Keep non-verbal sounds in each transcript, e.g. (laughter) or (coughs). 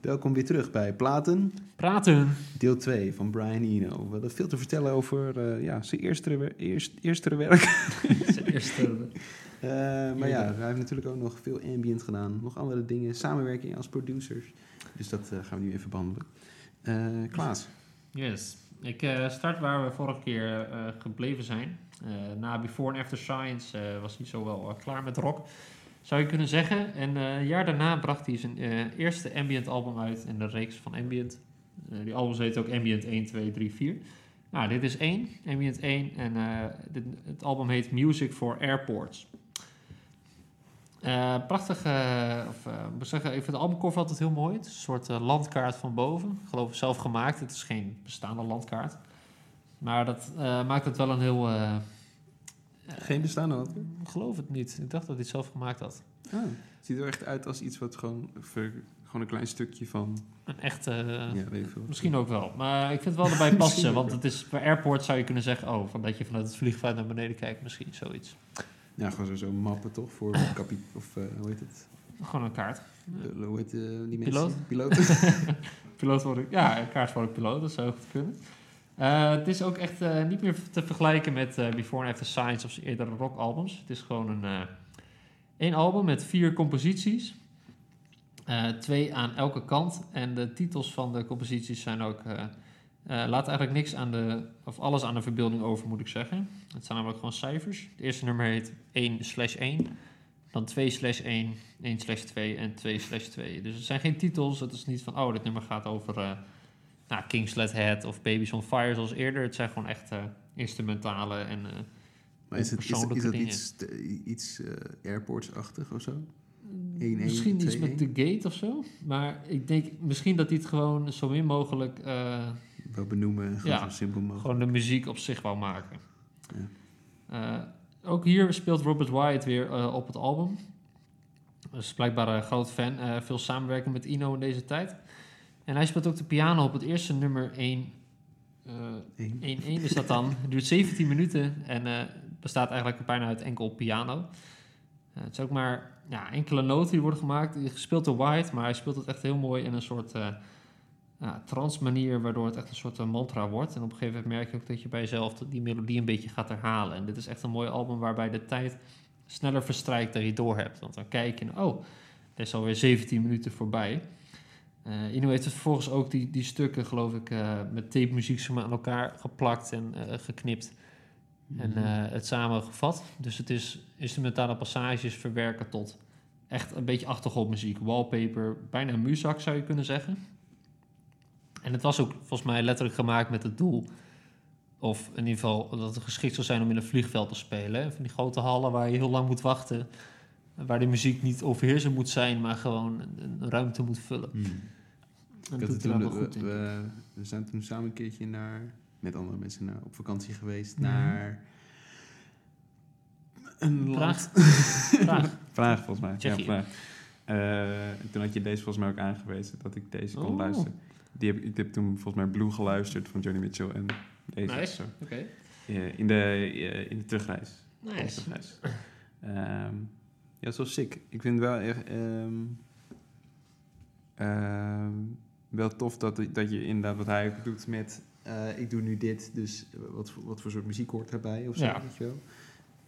Welkom weer terug bij Platen, Praten. deel 2 van Brian Eno. We hadden veel te vertellen over eh, ja, zijn eerstere, wer- eerst, eerstere werk. (laughs) Zijn eerste- Eh, maar ja, hij heeft natuurlijk ook nog veel ambient gedaan. Nog andere dingen, samenwerking als producers. Dus dat eh, gaan we nu even behandelen. Eh, Klaas, Yes. Ik eh, start waar we vorige keer eh, gebleven zijn. Eh, na Before and After Science eh, was hij zowel eh, klaar met rock, zou je kunnen zeggen. En eh, een jaar daarna bracht hij zijn eh, eerste ambient album uit in de reeks van ambient. Eh, die albums heet ook ambient 1, 2, 3, 4. Nou, dit is 1, ambient 1. En eh, dit, het album heet Music for Airports. Eh, prachtig, eh, of eh, ik moet zeggen, ik vind de albumcover altijd heel mooi. Het is een soort eh, landkaart van boven. Ik geloof zelf gemaakt, het is geen bestaande landkaart. Maar dat eh, maakt het wel een heel... eh, geen bestaande antwoord. ik geloof het niet. Ik dacht dat hij het zelf gemaakt had. Ah, het ziet er echt uit als iets wat gewoon, ver- gewoon een klein stukje van... Een echte... eh, ja, weet ik veel. Misschien ook wel, maar ik vind het wel erbij Misschien passen. ook Want wel. het is, bij airport zou je kunnen zeggen... oh, van dat je vanuit het vliegveld naar beneden kijkt misschien, zoiets. Ja, gewoon zo- zo'n mappen toch, (coughs) voor kapi- of eh, hoe heet het? Gewoon een kaart. Eh, hoe heet eh, die mensen? Piloot? Piloot. (laughs) Piloot word ik, ja, kaart word ik piloot, dat zou goed kunnen. Eh, het is ook echt eh, niet meer te vergelijken met eh, Before and After Science of zijn eerdere rockalbums. Het is gewoon een eh, één album met vier composities. Eh, twee aan elke kant. En de titels van de composities zijn ook... eh, eh, laat eigenlijk niks aan de... of alles aan de verbeelding over, moet ik zeggen. Het zijn namelijk gewoon cijfers. Het eerste nummer heet 1 slash 1. Dan 2 slash 1, 1 slash 2 en 2 slash 2. Dus het zijn geen titels. Het is niet van, oh, dit nummer gaat over eh nou, King's Let Head of Babies on Fire zoals eerder. Het zijn gewoon echt eh, instrumentale en... eh, Maar is, het, is, dat- is dat Persoonlijke dingen. iets, te- iets eh, airports-achtig of zo? 1-1, Misschien iets 2-1. met de gate of zo. Maar ik denk misschien dat hij het gewoon zo min mogelijk... eh, Wel benoemen, gewoon Ja. zo simpel mogelijk. gewoon de muziek op zich wou maken. Ja. Eh, ook hier speelt Robert Wyatt weer eh, op het album. Dus blijkbaar een groot fan. eh, veel samenwerking met Ino in deze tijd. En hij speelt ook de piano op het eerste nummer eh, 1. Eén. 1-1 is dat dan. Het duurt 17 minuten en eh, bestaat eigenlijk bijna uit enkel piano. Eh, het is ook maar ja, enkele noten die worden gemaakt. Gespeeld door White, maar hij speelt het echt heel mooi in een soort eh ja, trance manier, waardoor het echt een soort eh, mantra wordt. En op een gegeven moment merk je ook dat je bij jezelf die melodie een beetje gaat herhalen. En dit is echt een mooi album waarbij de tijd sneller verstrijkt dan je door hebt. Want dan kijk je, oh, er is alweer 17 minuten voorbij. Eh Inu heeft het vervolgens ook die, die stukken, geloof ik, eh, met tape muziek zeg maar, aan elkaar geplakt en eh, geknipt. Mm. Mhm. En eh, het samengevat. Dus het is instrumentale passages verwerken tot echt een beetje achtergrondmuziek. Wallpaper, bijna muzak zou je kunnen zeggen. En het was ook volgens mij letterlijk gemaakt met het doel. Of in ieder geval dat het geschikt zou zijn om in een vliegveld te spelen. hè. Van die grote hallen waar je heel lang moet wachten. Waar de muziek niet overheersend moet zijn, maar gewoon een- een ruimte moet vullen. Hmm. En Ik dat had doet het hij wel toen, goed we, in. we, we zijn toen samen een keertje naar, met andere mensen naar, op vakantie geweest Mhm. naar een land. (laughs) Praag. Praag. Vraag volgens mij. Tsjechië. Ja, vraag. Eh, toen had je deze volgens mij ook aangewezen dat ik deze kon Oh. luisteren. Die heb, ik heb toen volgens mij Blue geluisterd van Johnny Mitchell en deze. Nice. Zo. Oké. Eh, in, de, eh, in de terugreis. In de Nice. terugreis. Ehm, Ja, dat is wel sick. Ik vind het wel echt... ehm, ehm, wel tof dat, dat je inderdaad wat hij ook doet met... eh, ik doe nu dit, dus wat, voor- wat voor soort muziek hoort daarbij of zo, Ja. weet je wel?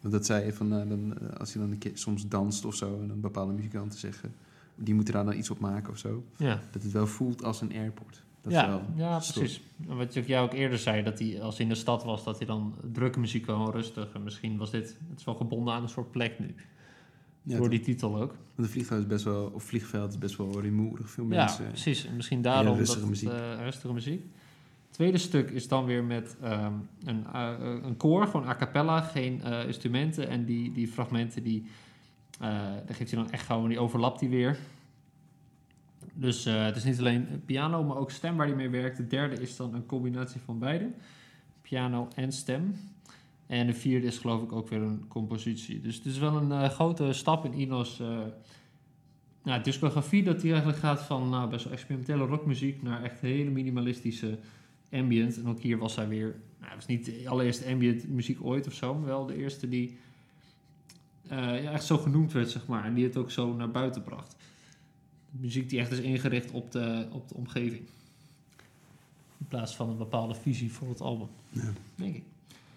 Want dat zei je van, eh, dan, eh, als je dan een keer soms danst of zo... en een bepaalde muzikant te zeggen... die moeten daar dan iets op maken of zo. Ja, Dat het wel voelt als een airport. Dat is ja, wel ja stoer. precies. En Wat ik jou ook eerder zei, dat hij als hij in de stad was, dat hij dan drukke muziek kon, rustig. En misschien was dit, het is wel gebonden aan een soort plek nu. Ja, door toch? die titel ook. Want een vliegveld is best wel, of vliegveld is best wel rumoerig. Veel mensen. Ja, precies. En misschien daarom Ja, rustige dat het, muziek. eh, rustige muziek. Het tweede stuk is dan weer met ehm, een, eh, een koor, gewoon a cappella, geen eh, instrumenten. En die, die fragmenten, die, eh, daar geeft hij dan echt gewoon, die overlapt hij weer. Dus eh, het is niet alleen piano, maar ook stem waar hij mee werkt. De derde is dan een combinatie van beide, piano en stem. En de vierde is geloof ik ook weer een compositie. Dus het is wel een eh, grote stap in Ino's eh, nou, discografie dat hij eigenlijk gaat van nou, best wel experimentele rockmuziek naar echt hele minimalistische ambient. En ook hier was hij weer, nou, het was niet de allereerste ambient muziek ooit of zo, maar wel de eerste die eh, ja, echt zo genoemd werd, zeg maar. En die het ook zo naar buiten bracht. Muziek die echt is ingericht op de, op de omgeving. In plaats van een bepaalde visie voor het album. Ja. Denk ik.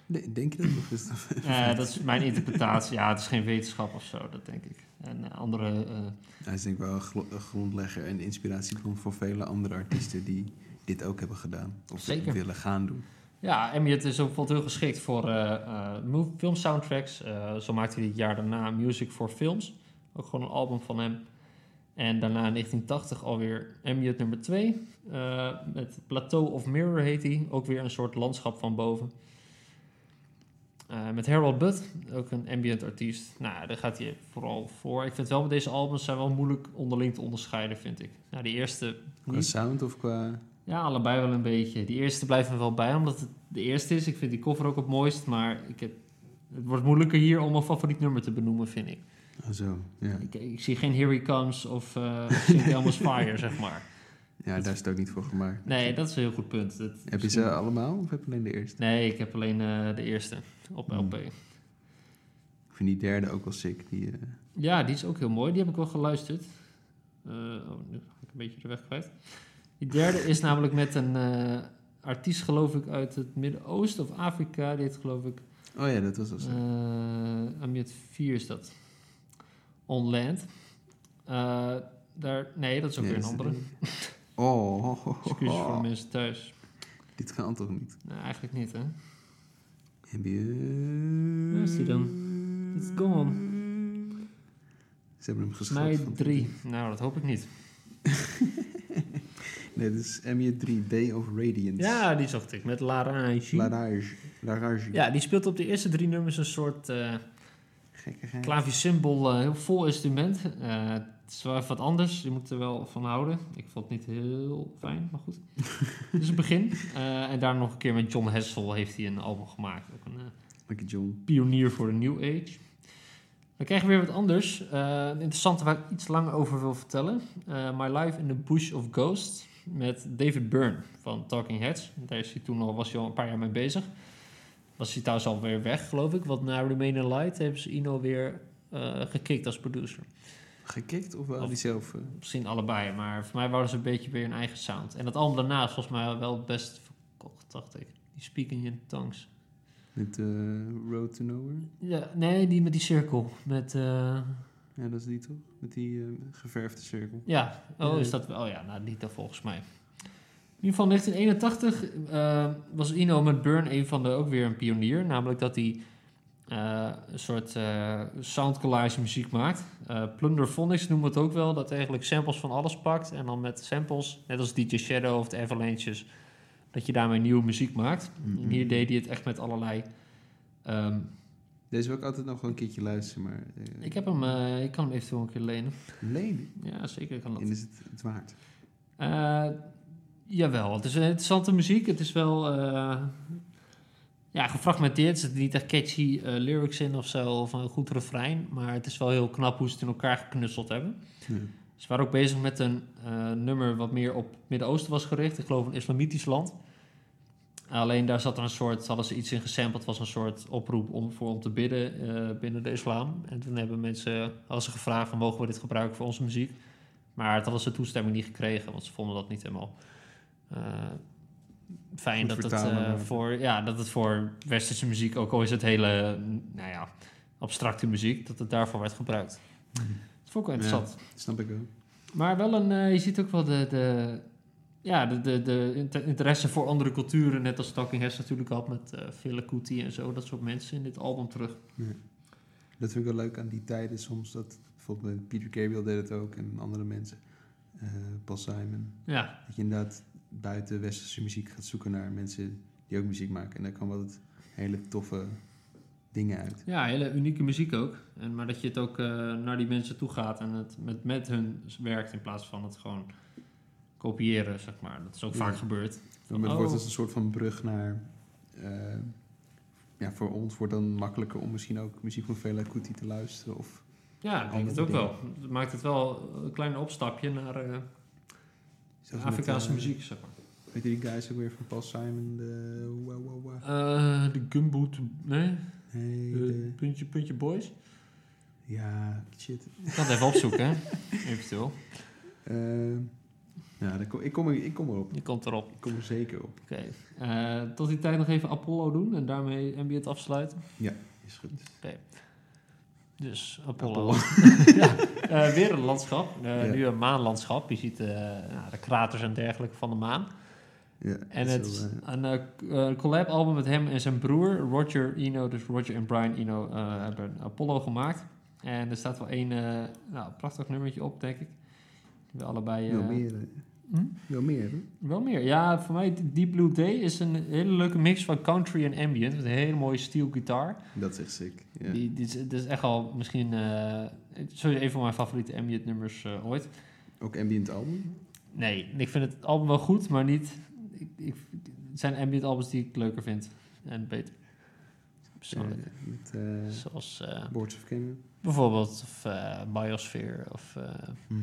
Nee, denk je dat nog eens? Dat- Eh, dat is mijn interpretatie. Ja, het is geen wetenschap of zo, dat denk ik. En eh, andere eh, Hij is denk ik wel een glo- een grondlegger en inspiratiebron voor vele andere artiesten die dit ook hebben gedaan. Of Zeker. willen gaan doen. Ja, Elliot is ook bijvoorbeeld heel geschikt voor eh eh, mov- filmsoundtracks. Eh, zo maakte hij het jaar daarna Music for Films. Ook gewoon een album van hem. En daarna in 1980 alweer Elliot nummer 2. met Plateau of Mirror heet hij. Ook weer een soort landschap van boven. Eh, met Harold Budd, ook een ambient artiest. Nou, daar gaat hij vooral voor. Ik vind wel met deze albums zijn wel moeilijk onderling te onderscheiden, vind ik. Nou, die eerste Qua sound of qua... ja, allebei wel een beetje. Die eerste blijft me wel bij, omdat het de eerste is. Ik vind die cover ook het mooist, maar ik heb, het wordt moeilijker hier om een favoriet nummer te benoemen, vind ik. Ah, zo, ja. Ik, ik zie geen Here He Comes of eh St. Elmo's Fire, zeg maar. Ja, daar is het ook niet voor gemaakt. Nee, dat is een heel goed punt. Dat, Heb je ze allemaal of heb je alleen de eerste? Nee, ik heb alleen eh, de eerste op Hmm. LP. Ik vind die derde ook wel sick. Die, eh, Ja, die is ook heel mooi. Die heb ik wel geluisterd. Eh, oh, nu ga ik een beetje de weg kwijt. Die derde is namelijk met een eh, artiest, geloof ik, uit het Midden-Oosten of Afrika. Die heet, geloof ik, Oh ja, dat was al zo. Mm, eh Amiet 4 is dat. On Land. Eh, daar, nee, dat is ook Nee, weer een dat is- andere. Oh, oh, oh, Excuses oh. voor de mensen thuis. dit kan toch niet? Nou, eigenlijk niet, hè? Ambient. Waar is die dan? It's gone. Ze hebben hem geschat. Mei van- 3. Nou, dat hoop ik niet. Nee, dit is Ambient 3, Day of Radiance. Ja, die zocht ik. Met Laranji. Larage. Larage. Ja, die speelt op de eerste drie nummers een soort eh Gekkigheid. klavicymbal, eh, heel vol instrument. Eh, het is wel even wat anders, je moet er wel van houden. Ik vond het niet heel fijn, maar (laughs) goed. Het is een begin. Eh, en daar nog een keer met John Hessel heeft hij een album gemaakt. Ook een eh, Lucky John. pionier voor de New Age. Dan krijgen we weer wat anders. Eh, een interessante waar ik iets langer over wil vertellen. Eh, My Life in the Bush of Ghosts met David Byrne van Talking Heads. Daar is hij toen al, was hij al een paar jaar mee bezig. Was hij trouwens alweer weg, geloof ik. Want na Remain in Light hebben ze Ino weer eh gekikt als producer. Gekikt of wel Of- die zelf? eh? Misschien allebei, maar voor mij waren ze een beetje weer hun eigen sound. En dat album daarna is volgens mij wel best verkocht, dacht ik. Die Speaking in Tongues. met eh, Road to Nowhere? Ja, nee, die met die cirkel. Met... eh, Ja, dat is die toch? Met die eh, geverfde cirkel. Ja, oh, Ja. is dat wel? Oh ja, nou, niet dan volgens mij. In ieder geval 1981 eh, was Ino met Burn een van de ook weer een pionier. Namelijk dat hij eh, een soort eh soundcollage muziek maakt. Eh Plunderphonics noemen we het ook wel. Dat eigenlijk samples van alles pakt. En dan met samples, net als DJ Shadow of de Avalanches, dat je daarmee nieuwe muziek maakt. En hier deed hij het echt met allerlei... ehm, Deze wil ik altijd nog wel een keertje luisteren, maar... eh, ik, heb hem, eh, ik kan hem eventueel een keer lenen. Lenen. Ja, zeker kan dat. En is het het waard? Eh, jawel, het is een interessante muziek. Het is wel eh, ja, gefragmenteerd. Er zitten niet echt catchy eh, lyrics in of zo, of een goed refrein. Maar het is wel heel knap hoe ze het in elkaar geknutseld hebben. Ja. Ze Dus waren ook bezig met een eh, nummer wat meer op het Midden-Oosten was gericht. Ik geloof een islamitisch land. Alleen daar zat er een soort, hadden ze iets in gesampled, was een soort oproep om voor om te bidden eh, binnen de islam. En toen hebben mensen, hadden ze gevraagd van mogen we dit gebruiken voor onze muziek? Maar het hadden ze toestemming niet gekregen, want ze vonden dat niet helemaal eh, fijn Goed dat het, vertalen, eh, maar- voor, ja, dat het voor westerse muziek, ook al is het hele, nou ja, abstracte muziek, dat het daarvoor werd gebruikt. Mhm. Dat vond ik wel interessant. Snap ik wel. Maar wel een, eh, je ziet ook wel de, de, ja, de, de, de inter- interesse voor andere culturen, net als Talking Heads natuurlijk had met eh Fela Kuti en zo, dat soort mensen in dit album terug. Dat vind ik wel leuk aan die tijden soms. Dat, bijvoorbeeld met Peter Gabriel deed het ook en andere mensen. Eh, Paul Simon. Ja, Dat je inderdaad buiten westerse muziek gaat zoeken naar mensen die ook muziek maken. En daar kwam wat hele toffe dingen uit. ja hele unieke muziek ook. En, maar dat je het ook eh, naar die mensen toe gaat en het met, met hun werkt in plaats van het gewoon kopiëren, zeg maar. Dat is ook Ja. vaak gebeurd. Maar het Oh. wordt als een soort van brug naar... eh, ja, voor ons wordt dan makkelijker om misschien ook muziek van Vela Kuti te luisteren. Of Ja, ik denk het Andere ook wel. dingen. Het maakt het wel een klein opstapje naar eh, zelfs met, Afrikaanse eh, muziek, zeg maar. Weet je die guys ook weer van Paul Simon? De, wa, wa, wa. Eh, de Gumboot, nee, Nee, de de, Puntje Puntje Boys. ja, shit. Ik kan het even opzoeken, hè? eventueel. Eh, ja, daar kom, ik, kom er, ik kom erop. Je komt erop. Ik kom er zeker op. Oké. Eh, tot die tijd nog even Apollo doen en daarmee Ambient afsluiten. Is goed. Dus Apollo. (laughs) ja, eh, weer een landschap. Eh, Ja. Nu een maanlandschap. Je ziet eh, nou, de kraters en dergelijke van de maan. Ja, En dat het is is wel, eh, een eh, c- eh, collab-album met hem en zijn broer Roger Eno. Dus Roger en Brian Eno eh, hebben een Apollo gemaakt. En er staat wel één eh, nou, prachtig nummertje op, denk ik. We allebei. eh, wel meer. eh, hm? Wel meer, hè? Wel meer. Ja, voor mij Deep Blue Day is een hele leuke mix van country en ambient. Met een hele mooie steel guitar. Dat is echt sick. Ja. Die, dit, is, dit is echt al misschien eh, sowieso een van mijn favoriete ambient nummers eh, ooit. Ook ambient album. Nee, ik vind het album wel goed, maar niet. Ik, ik, het zijn ambient albums die ik leuker vind en beter. Persoonlijk. Eh, met eh, Zoals eh, Boards of Canada. bijvoorbeeld of, eh, Biosphere of eh Hm.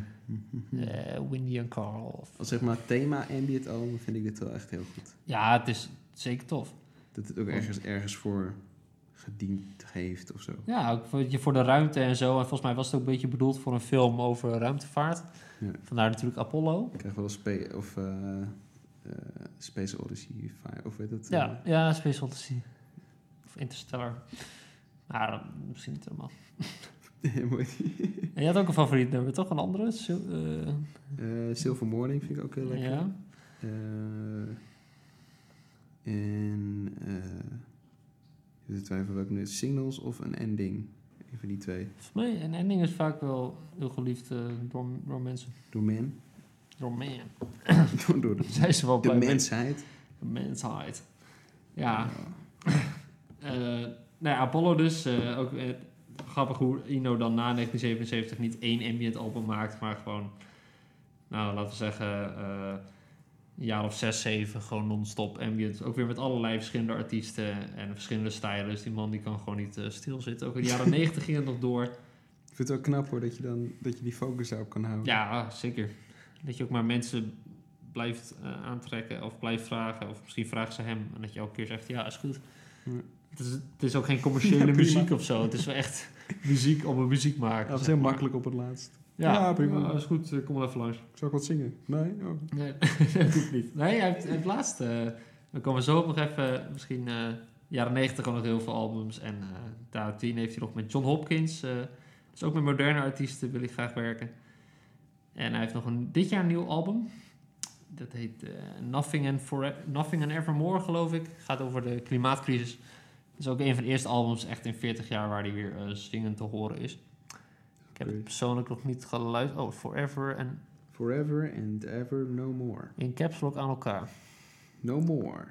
Ja. eh, Windy and Carl. Of, Als zeg maar thema ambient album vind ik dit wel echt heel goed. ja, het is zeker tof. Dat het ook ergens, ergens voor gediend heeft of zo. Ja, ook voor, je- voor de ruimte en zo. En volgens mij was het ook een beetje bedoeld voor een film over ruimtevaart. Ja. Vandaar natuurlijk Apollo. Ik krijg wel eens spa- of, eh, eh, Space Odyssey 5 of weet het. eh, Ja, ja Space Odyssey. Of Interstellar. Maar eh, misschien niet helemaal. (laughs) mooi. En je had ook een favoriet nummer, toch? Een andere? Sil- eh, Eh, Silver Morning vind ik ook heel lekker. ja. Eh, en eh ik zit te twijfelen welke nu is. Signals of een ending. Een van die twee. Volgens mij, een ending is vaak wel heel geliefd eh, door, door mensen. Door man. Door man. (laughs) (laughs) door, door de, Zijn ze wel de blij mee. mensheid. De mensheid. Ja. eh, nou ja, Apollo dus. eh, ook eh, grappig hoe Ino dan na 1977 niet één ambient album maakt, maar gewoon, nou laten we zeggen, eh, een jaar of zes, zeven, gewoon non-stop ambient. Ook weer met allerlei verschillende artiesten en verschillende stijlen. Dus die man die kan gewoon niet eh, stilzitten. Ook in de jaren 90 ging het nog door. Ik vind het wel knap hoor dat je, dan, dat je die focus daarop kan houden. Ja, zeker. Dat je ook maar mensen blijft eh, aantrekken of blijft vragen. Of misschien vragen ze hem. En dat je elke keer zegt, ja, is goed. Ja. Het, is, het is ook (laughs) geen commerciële Ja, prima. muziek of zo. Het is wel echt (laughs) muziek om een muziek maken. dat is zeg heel maar. makkelijk op het laatst. Ja, Ja, prima. prima. is goed, eh, kom wel even langs. Zou ik wat zingen? Nee? Oh. Nee, (laughs) dat hoeft niet. Nee, hij heeft, hij heeft laatst... eh, we komen zo op nog even... Misschien eh, jaren negentig al nog heel veel albums. En eh daar tien heeft hij nog met John Hopkins. eh, dus ook met moderne artiesten wil hij graag werken. En hij heeft nog een, dit jaar een nieuw album. Dat heet eh, Nothing, and Forever, Nothing and Evermore, geloof ik. Gaat over de klimaatcrisis. Dat is ook een van de eerste albums echt in 40 jaar waar hij weer eh, zingend te horen is. Ik heb het Oké. persoonlijk nog niet geluisterd. Oh, Forever en Forever and ever no more. in caps lock aan elkaar. No more.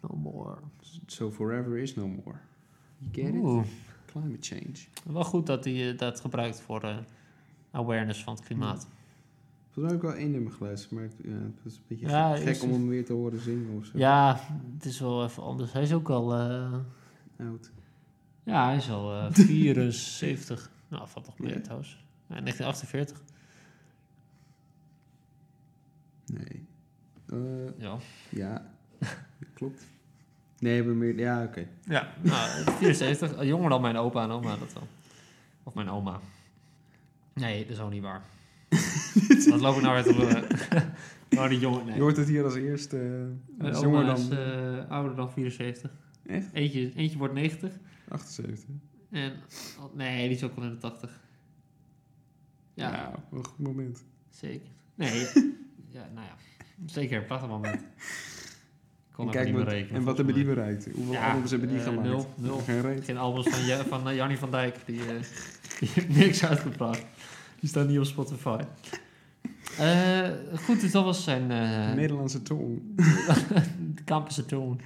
No more. So forever is no more. You get it? Oeh, Climate change. Wel goed dat hij eh, dat gebruikt voor eh, awareness van het klimaat. Volgens mij heb ik wel één nummer geluisterd, maar ik- ja, het was een beetje Ja, gek is- om hem weer te horen zingen of zo. Ja, het is wel even anders. Hij is ook al... eh, Oud. ja, hij is al (laughs) eh, 74. nou, valt nog mee Ja. trouwens. Ja, 1948. Nee. Eh, Ja. ja, klopt. Nee, we meer. Ja, oké. Ja. Nou, 74. eh, Jonger dan mijn opa en oma, dat wel. Of mijn oma. Nee, dat is ook niet (laughs) waar. Wat loop ik nou weer te lullen? (laughs) nou, die jongen, nee. Je hoort het hier als eerste. eh, Mijn als oma jonger dan is eh, ouder dan 74. Echt? Eentje, eentje wordt 90. 78. En, oh, nee, die is ook al in de 80. Ja, Ja, wel een goed moment. zeker. Nee, (laughs) ja, nou ja. Zeker, een prachtig moment. Ik kon En even kijk niet meer wat, rekenen. en wat hebben die bereikt? Hoeveel Ja, albums hebben die eh, gemaakt? nul, nul. Geen reet. Geen albums van, Ja- van eh, Jannie van Dijk. Die, eh, die heeft niks uitgebracht. Die staat niet op Spotify. Eh, goed, dus dat was zijn... eh Nederlandse toon. (laughs) Campus Toon.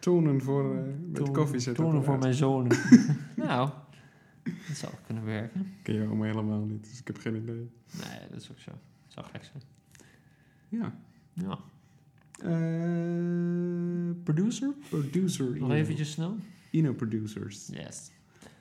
Tonen voor eh, met Toon- koffie zetten. Tonen voor eruit. mijn zoon. (laughs) nou, dat zou kunnen werken. Ik ken jou helemaal niet, dus ik heb geen idee. Nee, dat is ook zo. Dat zou gek zijn. Ja. Ja. Eh, Producer? producer. Nog Ino. eventjes snel. Ino Producers. Yes.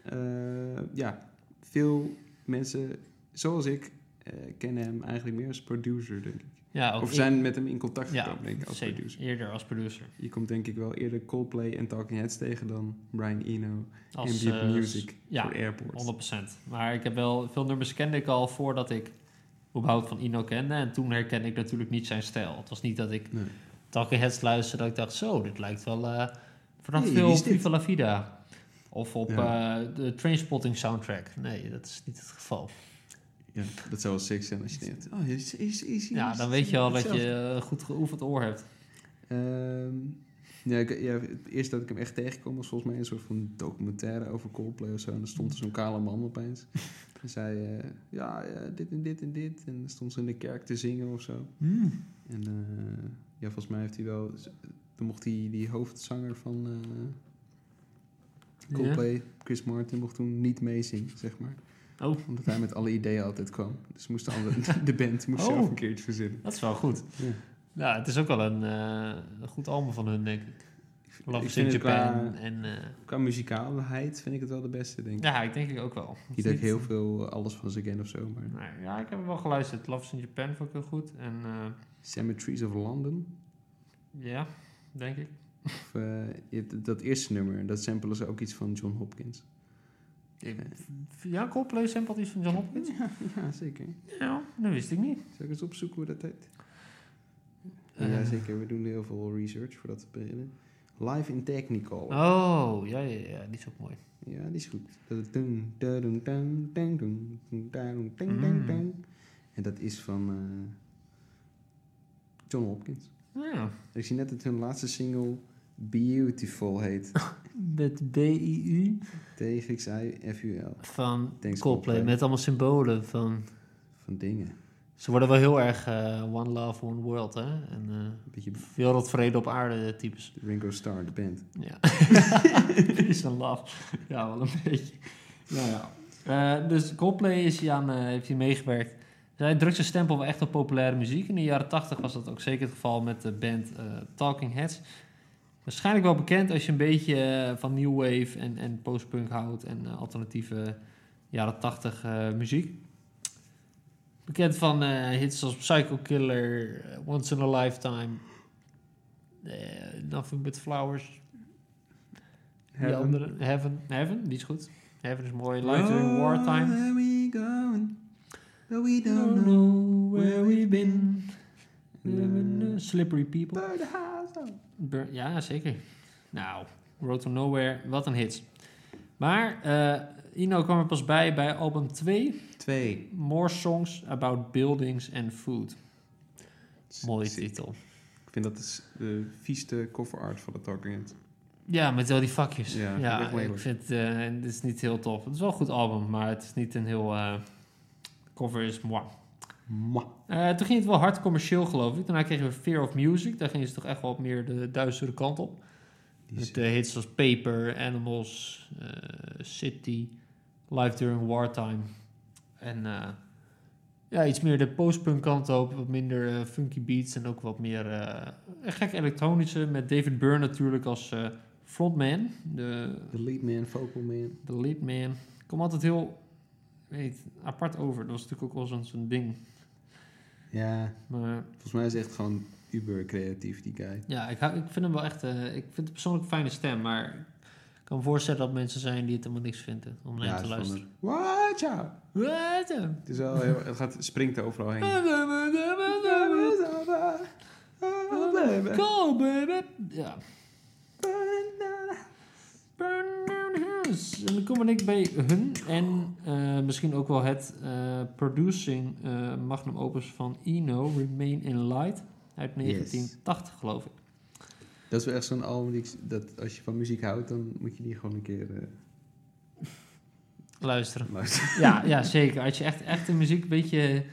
Eh, ja, veel mensen zoals ik eh, kennen hem eigenlijk meer als producer, denk ik. Ja, ook of ik- zijn met hem in contact Ja, gekomen, denk ik, als zeker. producer. Eerder als producer. Je komt denk ik wel eerder Coldplay en Talking Heads tegen dan Brian Eno Als, en Deep eh, Music ja, voor Airport. 100%. Maar ik heb wel veel nummers kende ik al voordat ik überhaupt van Ino kende. En toen herkende ik natuurlijk niet zijn stijl. Het was niet dat ik Nee. Talking Heads luisterde dat ik dacht, zo, dit lijkt wel eh vanaf Hey, veel wie op is dit? Viva La Vida. Of op Ja. eh, de Trainspotting soundtrack. Nee, dat is niet het geval. Ja, dat zou wel sick zijn als je denkt, oh, is, is, is, Ja, is- dan weet je al dat hetzelfde. je een goed geoefend oor hebt. Ehm, ja, ik, ja, het eerste dat ik hem echt tegenkwam was volgens mij een soort van documentaire over Coldplay of zo. En dan stond er zo'n kale man (laughs) opeens. En zei, eh, ja, eh, dit en dit en dit. En dan stond ze in de kerk te zingen of zo. En eh, ja, volgens mij heeft hij wel... Dan mocht hij die hoofdzanger van eh, Coldplay, Chris Martin, mocht toen niet meezingen, zeg maar. Oh. Omdat hij met alle ideeën altijd kwam. Dus moest de, (laughs) andere, de band moest Oh. zelf een keertje verzinnen. Dat is wel goed. Ja. Ja, het is ook wel een, eh, een goed album van hun, denk ik. Love ik is in vind het Japan. qua- En, eh, Qua muzikaalheid vind ik het wel de beste, denk ik. ja, ik denk ik ook wel. Niet dat ik heel veel eh, alles van ze ken of zo, maar... Nee, ja, ik heb hem wel geluisterd. Love is in Japan vond ik heel goed. En eh, Cemeteries of London. ja, denk ik. Of, eh, je hebt dat eerste nummer, dat samplen ze ook iets van John Hopkins. Ik- Ja, Coldplay sympathies van John Hopkins? Ja, (laughs) ja zeker. Ja, dat wist ik niet. Zal ik eens opzoeken hoe dat heet? Eh. ja, zeker. We doen heel veel research voordat we beginnen. Live in Technicolor. Oh, ja, ja, ja, die is ook mooi. Ja, die is goed. Dat is dun, dun, dun, dun, dun, dun, dun, dun, dun, Mm. dun, dun. En dat is van eh, John Hopkins. Ja. Ik zie net dat hun laatste single Beautiful heet. Met B-I-U T-X-I-F-U-L. van Thanks, Coldplay. Coldplay. Met allemaal symbolen van... Van dingen. Ze worden wel heel erg eh, One Love, One World, hè? En eh, Een beetje wereldvrede op aarde types. Ringo Starr, de band. Ja. (laughs) is een laf. Ja, wel een beetje. Nou ja. Eh, dus Coldplay is hier aan, eh, heeft hier meegewerkt. Zij drukt zijn stempel wel echt op populaire muziek. In de jaren 80 was dat ook zeker het geval met de band eh, Talking Heads. Waarschijnlijk wel bekend als je een beetje eh, van new wave en, en postpunk houdt en eh, alternatieve jaren 80 eh, muziek. Bekend van eh, hits als Psycho Killer, eh, Once in a Lifetime, eh, Nothing But Flowers, die Heaven. andere, Heaven. Heaven, die is goed. Heaven is dus mooi. Life Oh, during wartime. Where we going, but we don't know. know where we've been. Eh, Slippery people. Burn the house down. Bur- ja, zeker. Nou, Road to Nowhere, wat een hit. Maar eh, Ino kwam er pas bij bij album 2. Twee. More songs about buildings and food. Mooie Sick. titel. Ik vind dat is de vieste cover art van de Talking Heads. Ja, met al die vakjes. Ja, Ja, vind ik echt ik lelijk. vind eh, het is niet heel tof. Het is wel een goed album, maar het is niet een heel... eh, cover is moi. Mwah. Eh, toen ging het wel hard commercieel, geloof ik. Daarna kregen we Fear of Music. Daar gingen ze toch echt wel op meer de duistere kant op. Die is- Met de hits als Paper, Animals, eh, City, Life During Wartime. En eh, ja, iets meer de postpunk kant op. Wat minder eh, funky beats en ook wat meer eh, gek elektronische. Met David Byrne natuurlijk als eh, frontman. De, The lead man, vocal man. de lead man. Kom altijd heel weet, apart over. Dat was natuurlijk ook wel zo'n zo'n ding. Ja, Maar volgens mij is hij echt gewoon uber creatief, die guy. Ja, ik, hou- ik vind hem wel echt. eh, ik vind het persoonlijk een fijne stem, maar ik kan me voorstellen dat mensen zijn die het helemaal niks vinden om naar ja, hem is te van luisteren. een- Watch out. Wat? Het, is wel (laughs) heel, het gaat, springt er overal heen. Oh, baby. Go, baby! Ja. Burn down the house. En dan kom ik bij hun en eh, misschien ook wel het eh, producing eh, magnum opus van Eno, Remain in Light, uit Yes. 1980 geloof ik. Dat is wel echt zo'n album die ik- dat als je van muziek houdt, dan moet je die gewoon een keer eh, Luisteren. (laughs) luisteren. Ja, ja zeker. Als je echt, echt de muziek een beetje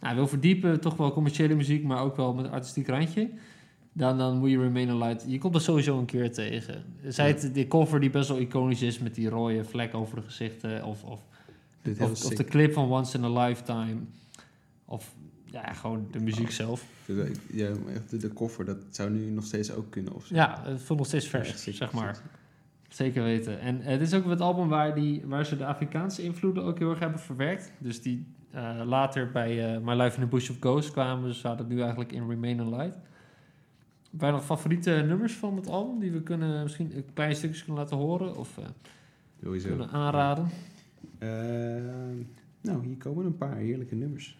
nou, wil verdiepen, toch wel commerciële muziek, maar ook wel met een artistiek randje, dan, dan moet je Remain Alive. Je komt er sowieso een keer tegen. Zij het de cover die best wel iconisch is met die rode vlek over de gezichten, of, of, Dit heel of, of sick. de clip van Once in a Lifetime, of ja, gewoon de muziek zelf. Dus, eh, ik- Ja, maar echt de, de koffer, dat zou nu nog steeds ook kunnen of zo. Ja, het voelt nog steeds vers, Echt sick, zeg maar. sick. Zeker weten. En het is ook het album waar, die, waar ze de Afrikaanse invloeden ook heel erg hebben verwerkt. Dus die eh, later bij eh, My Life in the Bush of Ghosts kwamen. Dus we hadden nu eigenlijk in Remain in Light. Bij nog favoriete nummers van het album die we kunnen misschien een klein stukje kunnen laten horen of eh, Sowieso. kunnen aanraden. Eh, nou, hier komen een paar heerlijke nummers.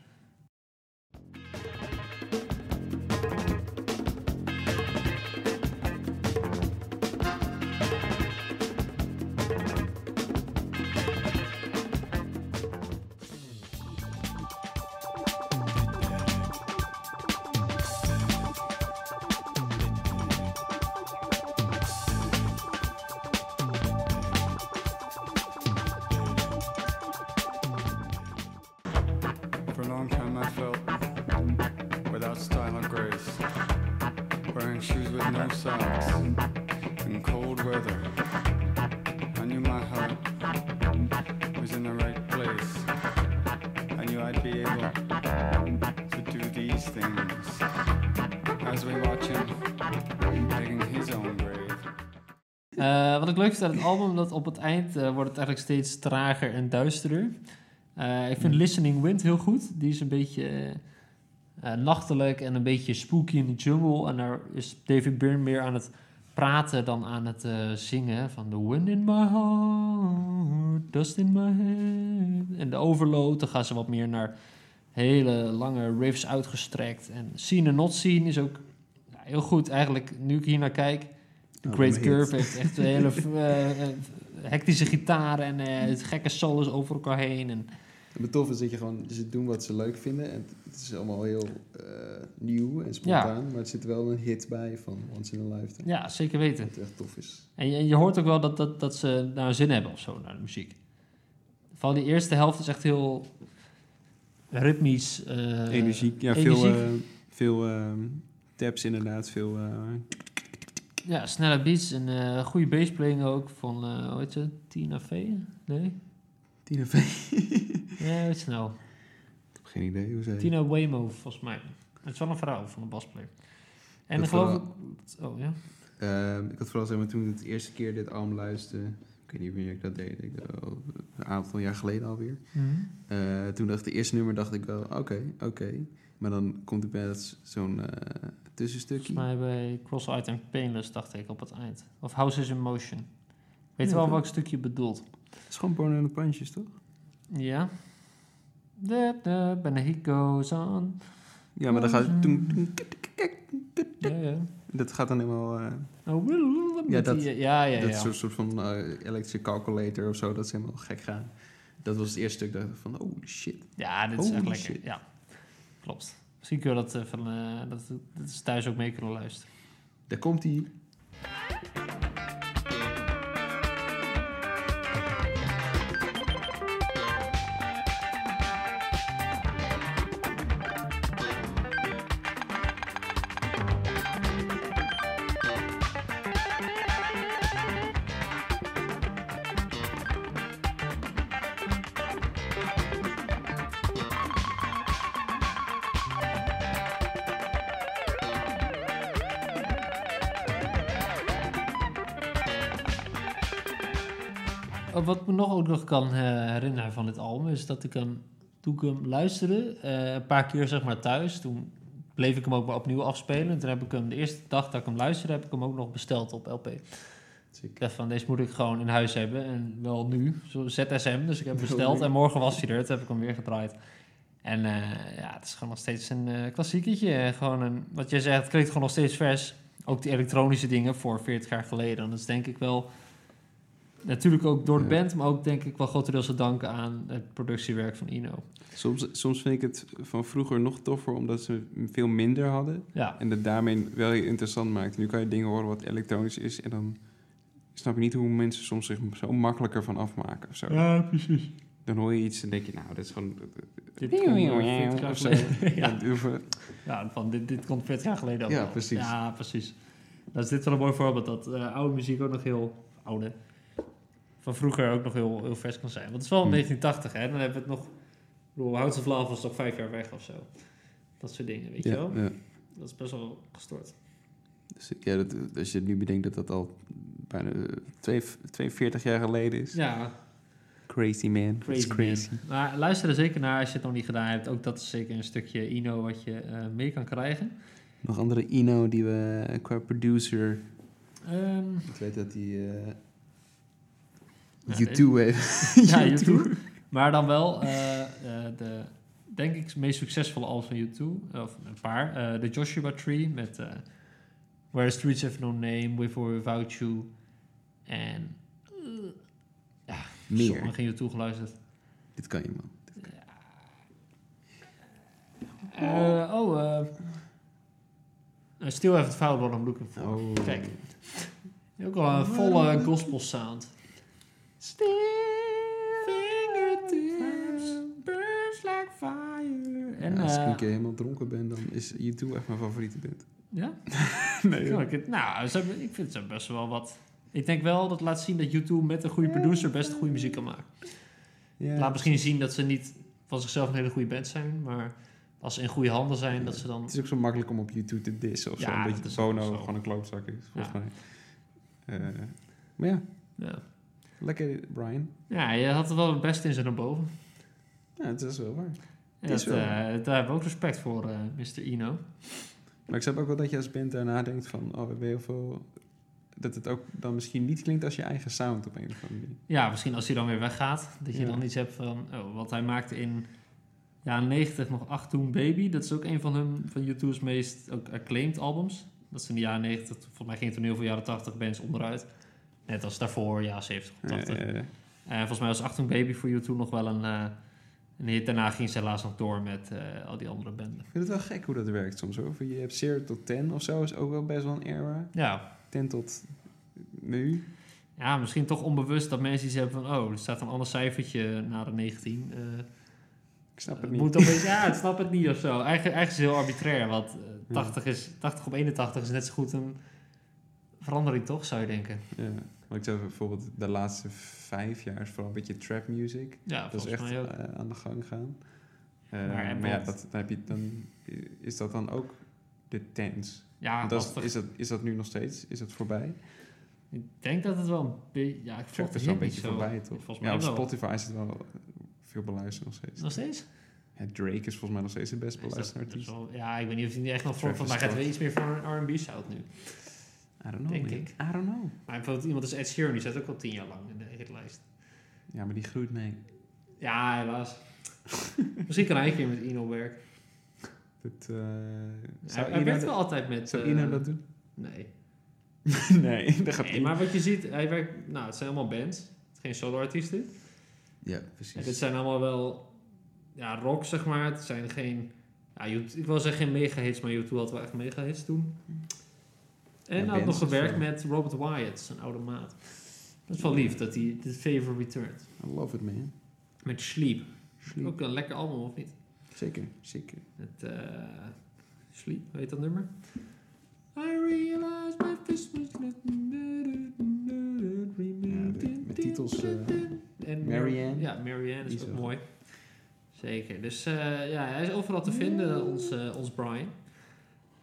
felt without style or grace. Wearing shoes with no socks in cold weather. I knew my heart was in the right place. I knew I'd be able to do these things. As we watch him digging his own grave. Eh, wat ik leuk vind aan het album, dat op het eind eh, wordt het eigenlijk steeds trager en duisterder. Eh, ik vind Listening Wind heel goed. Die is een beetje eh, eh, nachtelijk en een beetje spooky in de jungle. En daar is David Byrne meer aan het praten dan aan het eh, zingen. Van The Wind in My Heart, Dust in My Head. En de Overload, dan gaan ze wat meer naar hele lange riffs uitgestrekt. En Seen and Not Seen is ook ja, heel goed. Eigenlijk, nu ik hier naar kijk, The Oh, Great een hit. Curve heeft echt een hele eh, eh, hectische gitaar en eh, het gekke solos over elkaar heen. En En het toffe is dat je gewoon, ze doen wat ze leuk vinden. En het is allemaal heel eh, nieuw en spontaan. Maar het zit wel een hit bij van Once in a Lifetime. ja, zeker weten. Wat echt tof is. En je, en je hoort ook wel dat, dat, dat ze daar zin hebben of zo, naar de muziek. Vooral die eerste helft is echt heel ritmisch. eh, energiek. Ja, veel, energiek. eh, veel ehm, tabs inderdaad. Veel, eh, Ja, snelle beats en eh, goede bassplaying ook van, eh hoe heet ze, Tina Fey? Nee? Tina V. Ik (laughs) Nee, hoe heet ze nou? heb geen idee hoe zij... Tina Waymo, volgens mij. Het is wel een vrouw van de basplayer. En Dat dan geloof ik... verhaal- Oh ja? Ehm, ik had vooral zeg maar toen ik de eerste keer dit album luisterde... Ik weet niet wanneer ik dat deed. Ik, dacht, oh, een aantal jaar geleden alweer. Mhm. Eh, toen dacht ik, de eerste nummer dacht ik wel, oké, oké. Maar dan komt er bij zo'n eh, tussenstukje. Volgens mij bij Cross-Eyed en Painless, dacht ik, op het eind. Of Houses in Motion. Weet Ja, je wel dat- welk stukje je bedoelt? het is gewoon porno en de pandjes, toch? Ja. Da, da, and he goes on. Ja, maar dan Mm. gaat, toen, Ja, ja. dat gaat dan helemaal... eh, Oh, wil- wil- wil- Ja, met dat- die- ja, ja, dat ja. soort, soort van eh, electric calculator of zo, dat ze helemaal gek gaan. Dat was het eerste stuk dat ik dacht van, oh shit. Ja, dit is echt Holy lekker. shit. Ja, klopt. Misschien kunnen we dat, eh, van, eh, dat, dat ze thuis ook mee kunnen luisteren. Daar komt die. Oh, Wat me nog ook nog kan eh, herinneren van dit album is dat ik hem, toen ik hem luisterde, eh, een paar keer zeg maar thuis, toen bleef ik hem ook maar opnieuw afspelen. En toen heb ik hem de eerste dag dat ik hem luisterde, heb ik hem ook nog besteld op LP. Ik dacht van, deze moet ik gewoon in huis hebben. En wel nu, zo ZSM. Dus ik heb hem besteld. En morgen was hij er. Toen heb ik hem weer gedraaid. En eh, ja, het is gewoon nog steeds een eh klassieketje. Eh, Gewoon een, wat jij zegt, het klinkt gewoon nog steeds vers. Ook die elektronische dingen voor 40 jaar geleden. En dat is denk ik wel... Natuurlijk ook door de Ja. band, maar ook denk ik wel grotendeels te danken aan het productiewerk van Ino. Soms, soms vind ik het van vroeger nog toffer, omdat ze veel minder hadden. Ja, En dat daarmee wel heel interessant maakt. Nu kan je dingen horen wat elektronisch is en dan snap je niet hoe mensen soms zich zo makkelijker van afmaken of zo. ja precies. Dan hoor je iets en denk je, nou, dat is gewoon... Dit komt, eh, 40 jaar Of zo. geleden. (laughs) ja. Dat hoeven- (laughs) Ja, van dit, dit komt 40 jaar geleden ook Ja, al. precies. Ja, precies. Dat is dit wel een mooi voorbeeld dat eh, oude muziek ook nog heel oude van vroeger ook nog heel, heel vers kan zijn. Want het is wel Hm. Hmm. 1980, hè? Dan hebben we het nog. Ik bedoel, House of Love was toch vijf jaar weg of zo. Dat soort dingen, weet je Ja, wel? ja. Dat is best wel gestort. Dus ik- ja, dat, als je nu bedenkt dat dat al bijna eh, twee- 42 jaar geleden is. Ja, Crazy man. crazy. man. Maar luister er zeker naar als je het nog niet gedaan hebt. Ook dat is zeker een stukje Ino wat je eh, mee kan krijgen. Nog andere Ino die eh, we qua producer... Ehm, Ik weet dat die... eh Ja, U2 heeft. (laughs) ja, YouTube. Maar dan wel eh, eh, de, denk ik, meest succesvolle albums van YouTube. Of een paar. Eh, de Joshua Tree met eh, Where the Streets Have No Name, With or Without You. En Meer. sommigen gingen YouTube geluisterd. Dit kan je, man. Eh, oh, eh I Still Haven't Found What I'm Looking For. Oh. Kijk. Ook al een volle gospel sound. Still fingertips, burns like fire. En En, als ik eh, een keer helemaal dronken ben, dan is U2 echt mijn favoriete band. (laughs) Ja? nee, Ja, ik het- nou, ze hebben- ik vind ze best wel wat. Ik denk wel dat laat zien dat YouTube met een goede producer best goede muziek kan maken. Ja. Laat misschien zien dat ze niet van zichzelf een hele goede band zijn, maar als ze in goede handen zijn, dat ze dan. Het is ook zo makkelijk om op U2 te dissen of Ja, zo. Een dat beetje is zo. Bono Zo. gewoon een klootzak is, volgens Ja. mij. Eh, Maar ja, Ja. lekker Brian. ja, je had er wel het beste in ze naar boven. Ja, dat is wel waar. En Is dat, wel. eh, daar hebben we ook respect voor, eh, Mr. Ino. Maar ik snap ook wel dat je als band daarna denkt van, oh, we hebben heel veel... Dat het ook dan misschien niet klinkt als je eigen sound op een of andere manier. Ja, misschien als hij dan weer weggaat, dat je Ja. dan iets hebt van oh, wat hij maakte in jaren 90 nog 8 Toen Baby. Dat is ook een van hun van YouTube's meest ook acclaimed albums. Dat is in de jaren 90, volgens mij ging toen heel veel jaren 80 bands onderuit. Net als daarvoor, ja, 70, 80. eh, eh, En volgens mij was 8 Toen Baby voor YouTube nog wel een, eh een hit. Daarna ging ze helaas nog door met eh, al die andere banden. Ik vind het wel gek hoe dat werkt soms hoor. Van Je hebt 0 tot 10 of zo, is ook wel best wel een era. Ja. 10 tot nu. ja, misschien toch onbewust dat mensen iets hebben van oh, er staat een ander cijfertje na de 19. eh, Ik snap het Het niet. Eh, moet opeens, ja, ik snap het niet of zo. Eigen, eigenlijk is het heel arbitrair, want eh, 80, is, 80 op 81 is net zo goed een verandering, toch, zou je denken? ja. Maar ik zeg bijvoorbeeld de laatste vijf jaar is vooral een beetje trap music. Ja, Dat is volgens echt mij ook. eh, aan de gang gaan. Eh, Maar maar en ja, wat? dat, dan heb je, dan, is dat dan ook de tens? Ja, dat is, Ah, lastig. is, dat, is dat nu nog steeds? Is dat voorbij? ik denk dat het wel een beetje... Ja, ik volg Trap het is wel niet een beetje zo. voorbij, toch? Volgens mij Ja, op wel. Spotify is het wel veel beluisterd nog steeds. Nog steeds? Is Ja, Drake is volgens mij nog steeds de best dat- beluisterde dat is artiest. wel- ja, ik weet niet of hij nu echt nog voor... Travis Vandaag gaat Scott. weer iets meer voor een R&B-sound nu. I don't know, denk man. ik. I don't know. Maar bijvoorbeeld iemand als Ed Sheeran, die zat ook al tien jaar lang in de hitlijst. Ja, maar die groeit mee. Ja, (laughs) helaas. Misschien kan hij een keer met Ino werken. Dat, eh Hij, zou hij Ina werkt dat- wel altijd met... zou eh, Ina dat doen? Nee. nee, (laughs) dat gaat (laughs) Nee, niet. maar wat je ziet, hij werkt, nou, het zijn allemaal bands, geen solo-artiesten. Ja, En precies. dit zijn allemaal wel ja, rock, zeg maar. Het zijn geen, ja, U2 ik wil zeggen geen mega-hits, maar YouTube had wel echt mega-hits toen. En Ja, hij had nog bands is gewerkt wel- met Robert Wyatt, zijn oude maat. Dat is wel lief dat hij The Favor returned. I love it, man. Met Sleep. Sleep. Ook een lekker album, of niet? Zeker, zeker. Met eh, Sleep, hoe heet dat nummer? I realize my Christmas de- met titels, eh, en Marianne. Ja, Marianne Die is is ook wel mooi. Zeker. Dus eh, ja, hij is overal te vinden, ons, eh, ons Brian.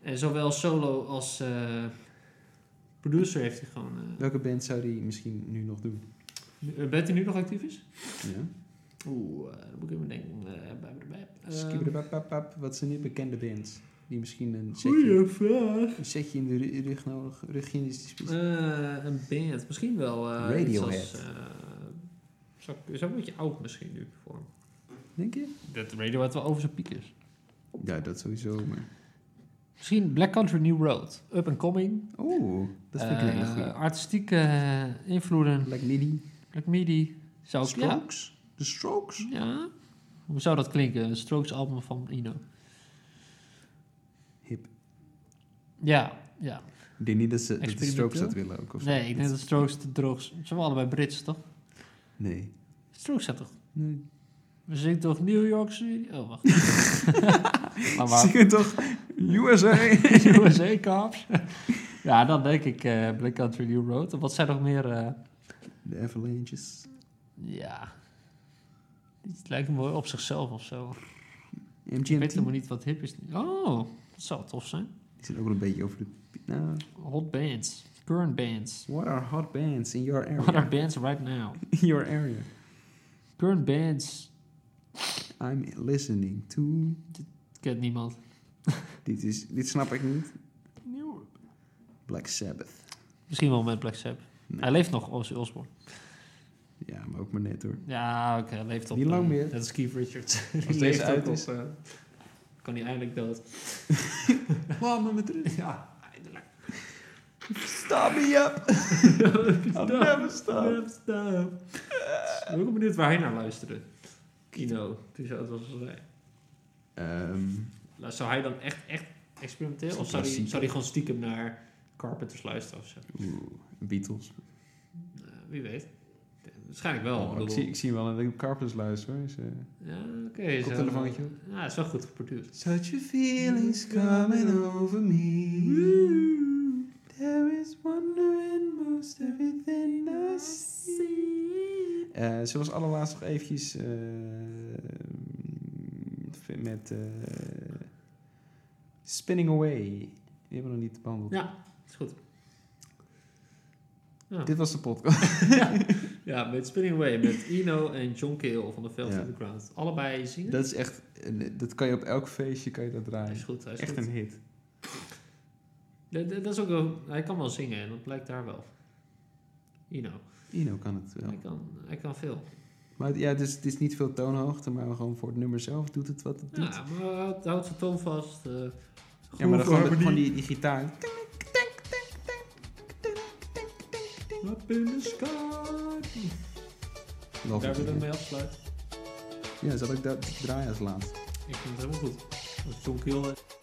En zowel solo als eh, producer heeft hij gewoon... eh, Welke band zou die misschien nu nog doen? een band die nu nog actief is? Ja. Oeh, eh, dan moet ik even denken. eh, bij- bij- bij- eh, Skibidibababab, Wat zijn die bekende bands? Die misschien een setje, Goeie vraag. een setje in de ru- rug nodig, rugje in de spies. Eh, een band. Misschien wel eh iets als... Radiohead. eh, is ook- is ook een beetje oud misschien nu voor hem. Denk je? Dat Radiohead wel over zijn piek is. Ja, dat sowieso, maar... Misschien Black Country New Road. Up and coming. Oeh, dat vind ik een hele Eh, goeie. Artistieke eh, invloeden. Black Midi. Black Midi. Zou ik... Ja. Strokes? De Strokes? ja. Hoe zou dat klinken? Een Strokes album van Ino. Hip. Ja, ja. Ik denk niet dat, ze, dat de Experimenteel? Strokes dat willen ook, of zo. Nee, ik denk dat Strokes te droog... Ze zijn wel allebei Brits, toch? Nee. Strokes zijn toch... Nee. We zingen toch New York City? Oh, (laughs) wacht. maar Ah, waar- Zing het toch? USA! (laughs) USA Cops. (laughs) ja, dan denk ik eh Black Country New Road. Wat zijn nog meer... eh, De Avalanches. ja... Het lijkt me wel op zichzelf of zo. Ik weet MGMT. helemaal niet wat hip is. Oh, dat zou tof zijn. Die zijn ook wel een beetje over de... Nou, Hot bands. Current bands. what are hot bands in your What are area? bands right now? In your area. Current bands. I'm listening to... Kent niemand. Dit, is, dit snap ik niet. New Black Sabbath. Misschien wel met Black Sabbath. Nee. Hij leeft nog, Ozzy Osbourne. Ja, maar ook maar net hoor. Ja, oké, hij leeft op. Niet lang eh, meer. Dat is Keith Richards. Die (laughs) deze leeft ook uit op, is. eh, kan hij eindelijk dood. (laughs) Laat me met rust. Ja, eindelijk. Stop me up. Stop. never stop. Never stop. Ik ben ook wel benieuwd waar hij naar luisterde. Kino, toen zou het was al zei. Ehm, Nou, Zou hij dan echt, echt experimenteel? Zo'n Of zou hij, klassieker. zou hij gewoon stiekem naar Carpenters luisteren of zo? Beatles. Nou, wie Eh, weet. Waarschijnlijk wel. Oh, bedoel- ik, zie, ik zie hem wel aan de Carpens luisteren. hoor. Is, eh, Ja, oké. zo- Koptelefoontje op. Ja, is wel goed geproduceerd. Such a feeling's coming over me. There is wonder in most everything I see. Eh, zullen we als allerlaatst nog eventjes eh, v- met eh, Spinning Away. Die hebben we nog niet behandeld. Ja, is goed. Dit was de podcast. Ja, met Spinning Away, met Eno en John Cale van de Velvet Ja. Underground. Allebei zingen. dat is echt, een- dat kan je op elk feestje kan je dat Hij draaien. is goed, hij is echt goed. een hit. Dat, dat- dat is ook wel, hij kan wel zingen en dat blijkt daar wel. Eno, Ino kan het wel. hij, kan, hij kan veel. Maar het- ja, het is, het is niet veel toonhoogte, maar gewoon voor het nummer zelf doet het wat het doet. Ja, maar eh, hij houdt, houdt zijn toon vast. eh Ja, maar dan groove gewoon, gewoon die, die gitaar. harmonie. Up in the sky. Love Daar it. willen we mee afsluiten. Ja, zal ik dat draaien als laatst? Ik vind het helemaal goed. Dat is John Cale.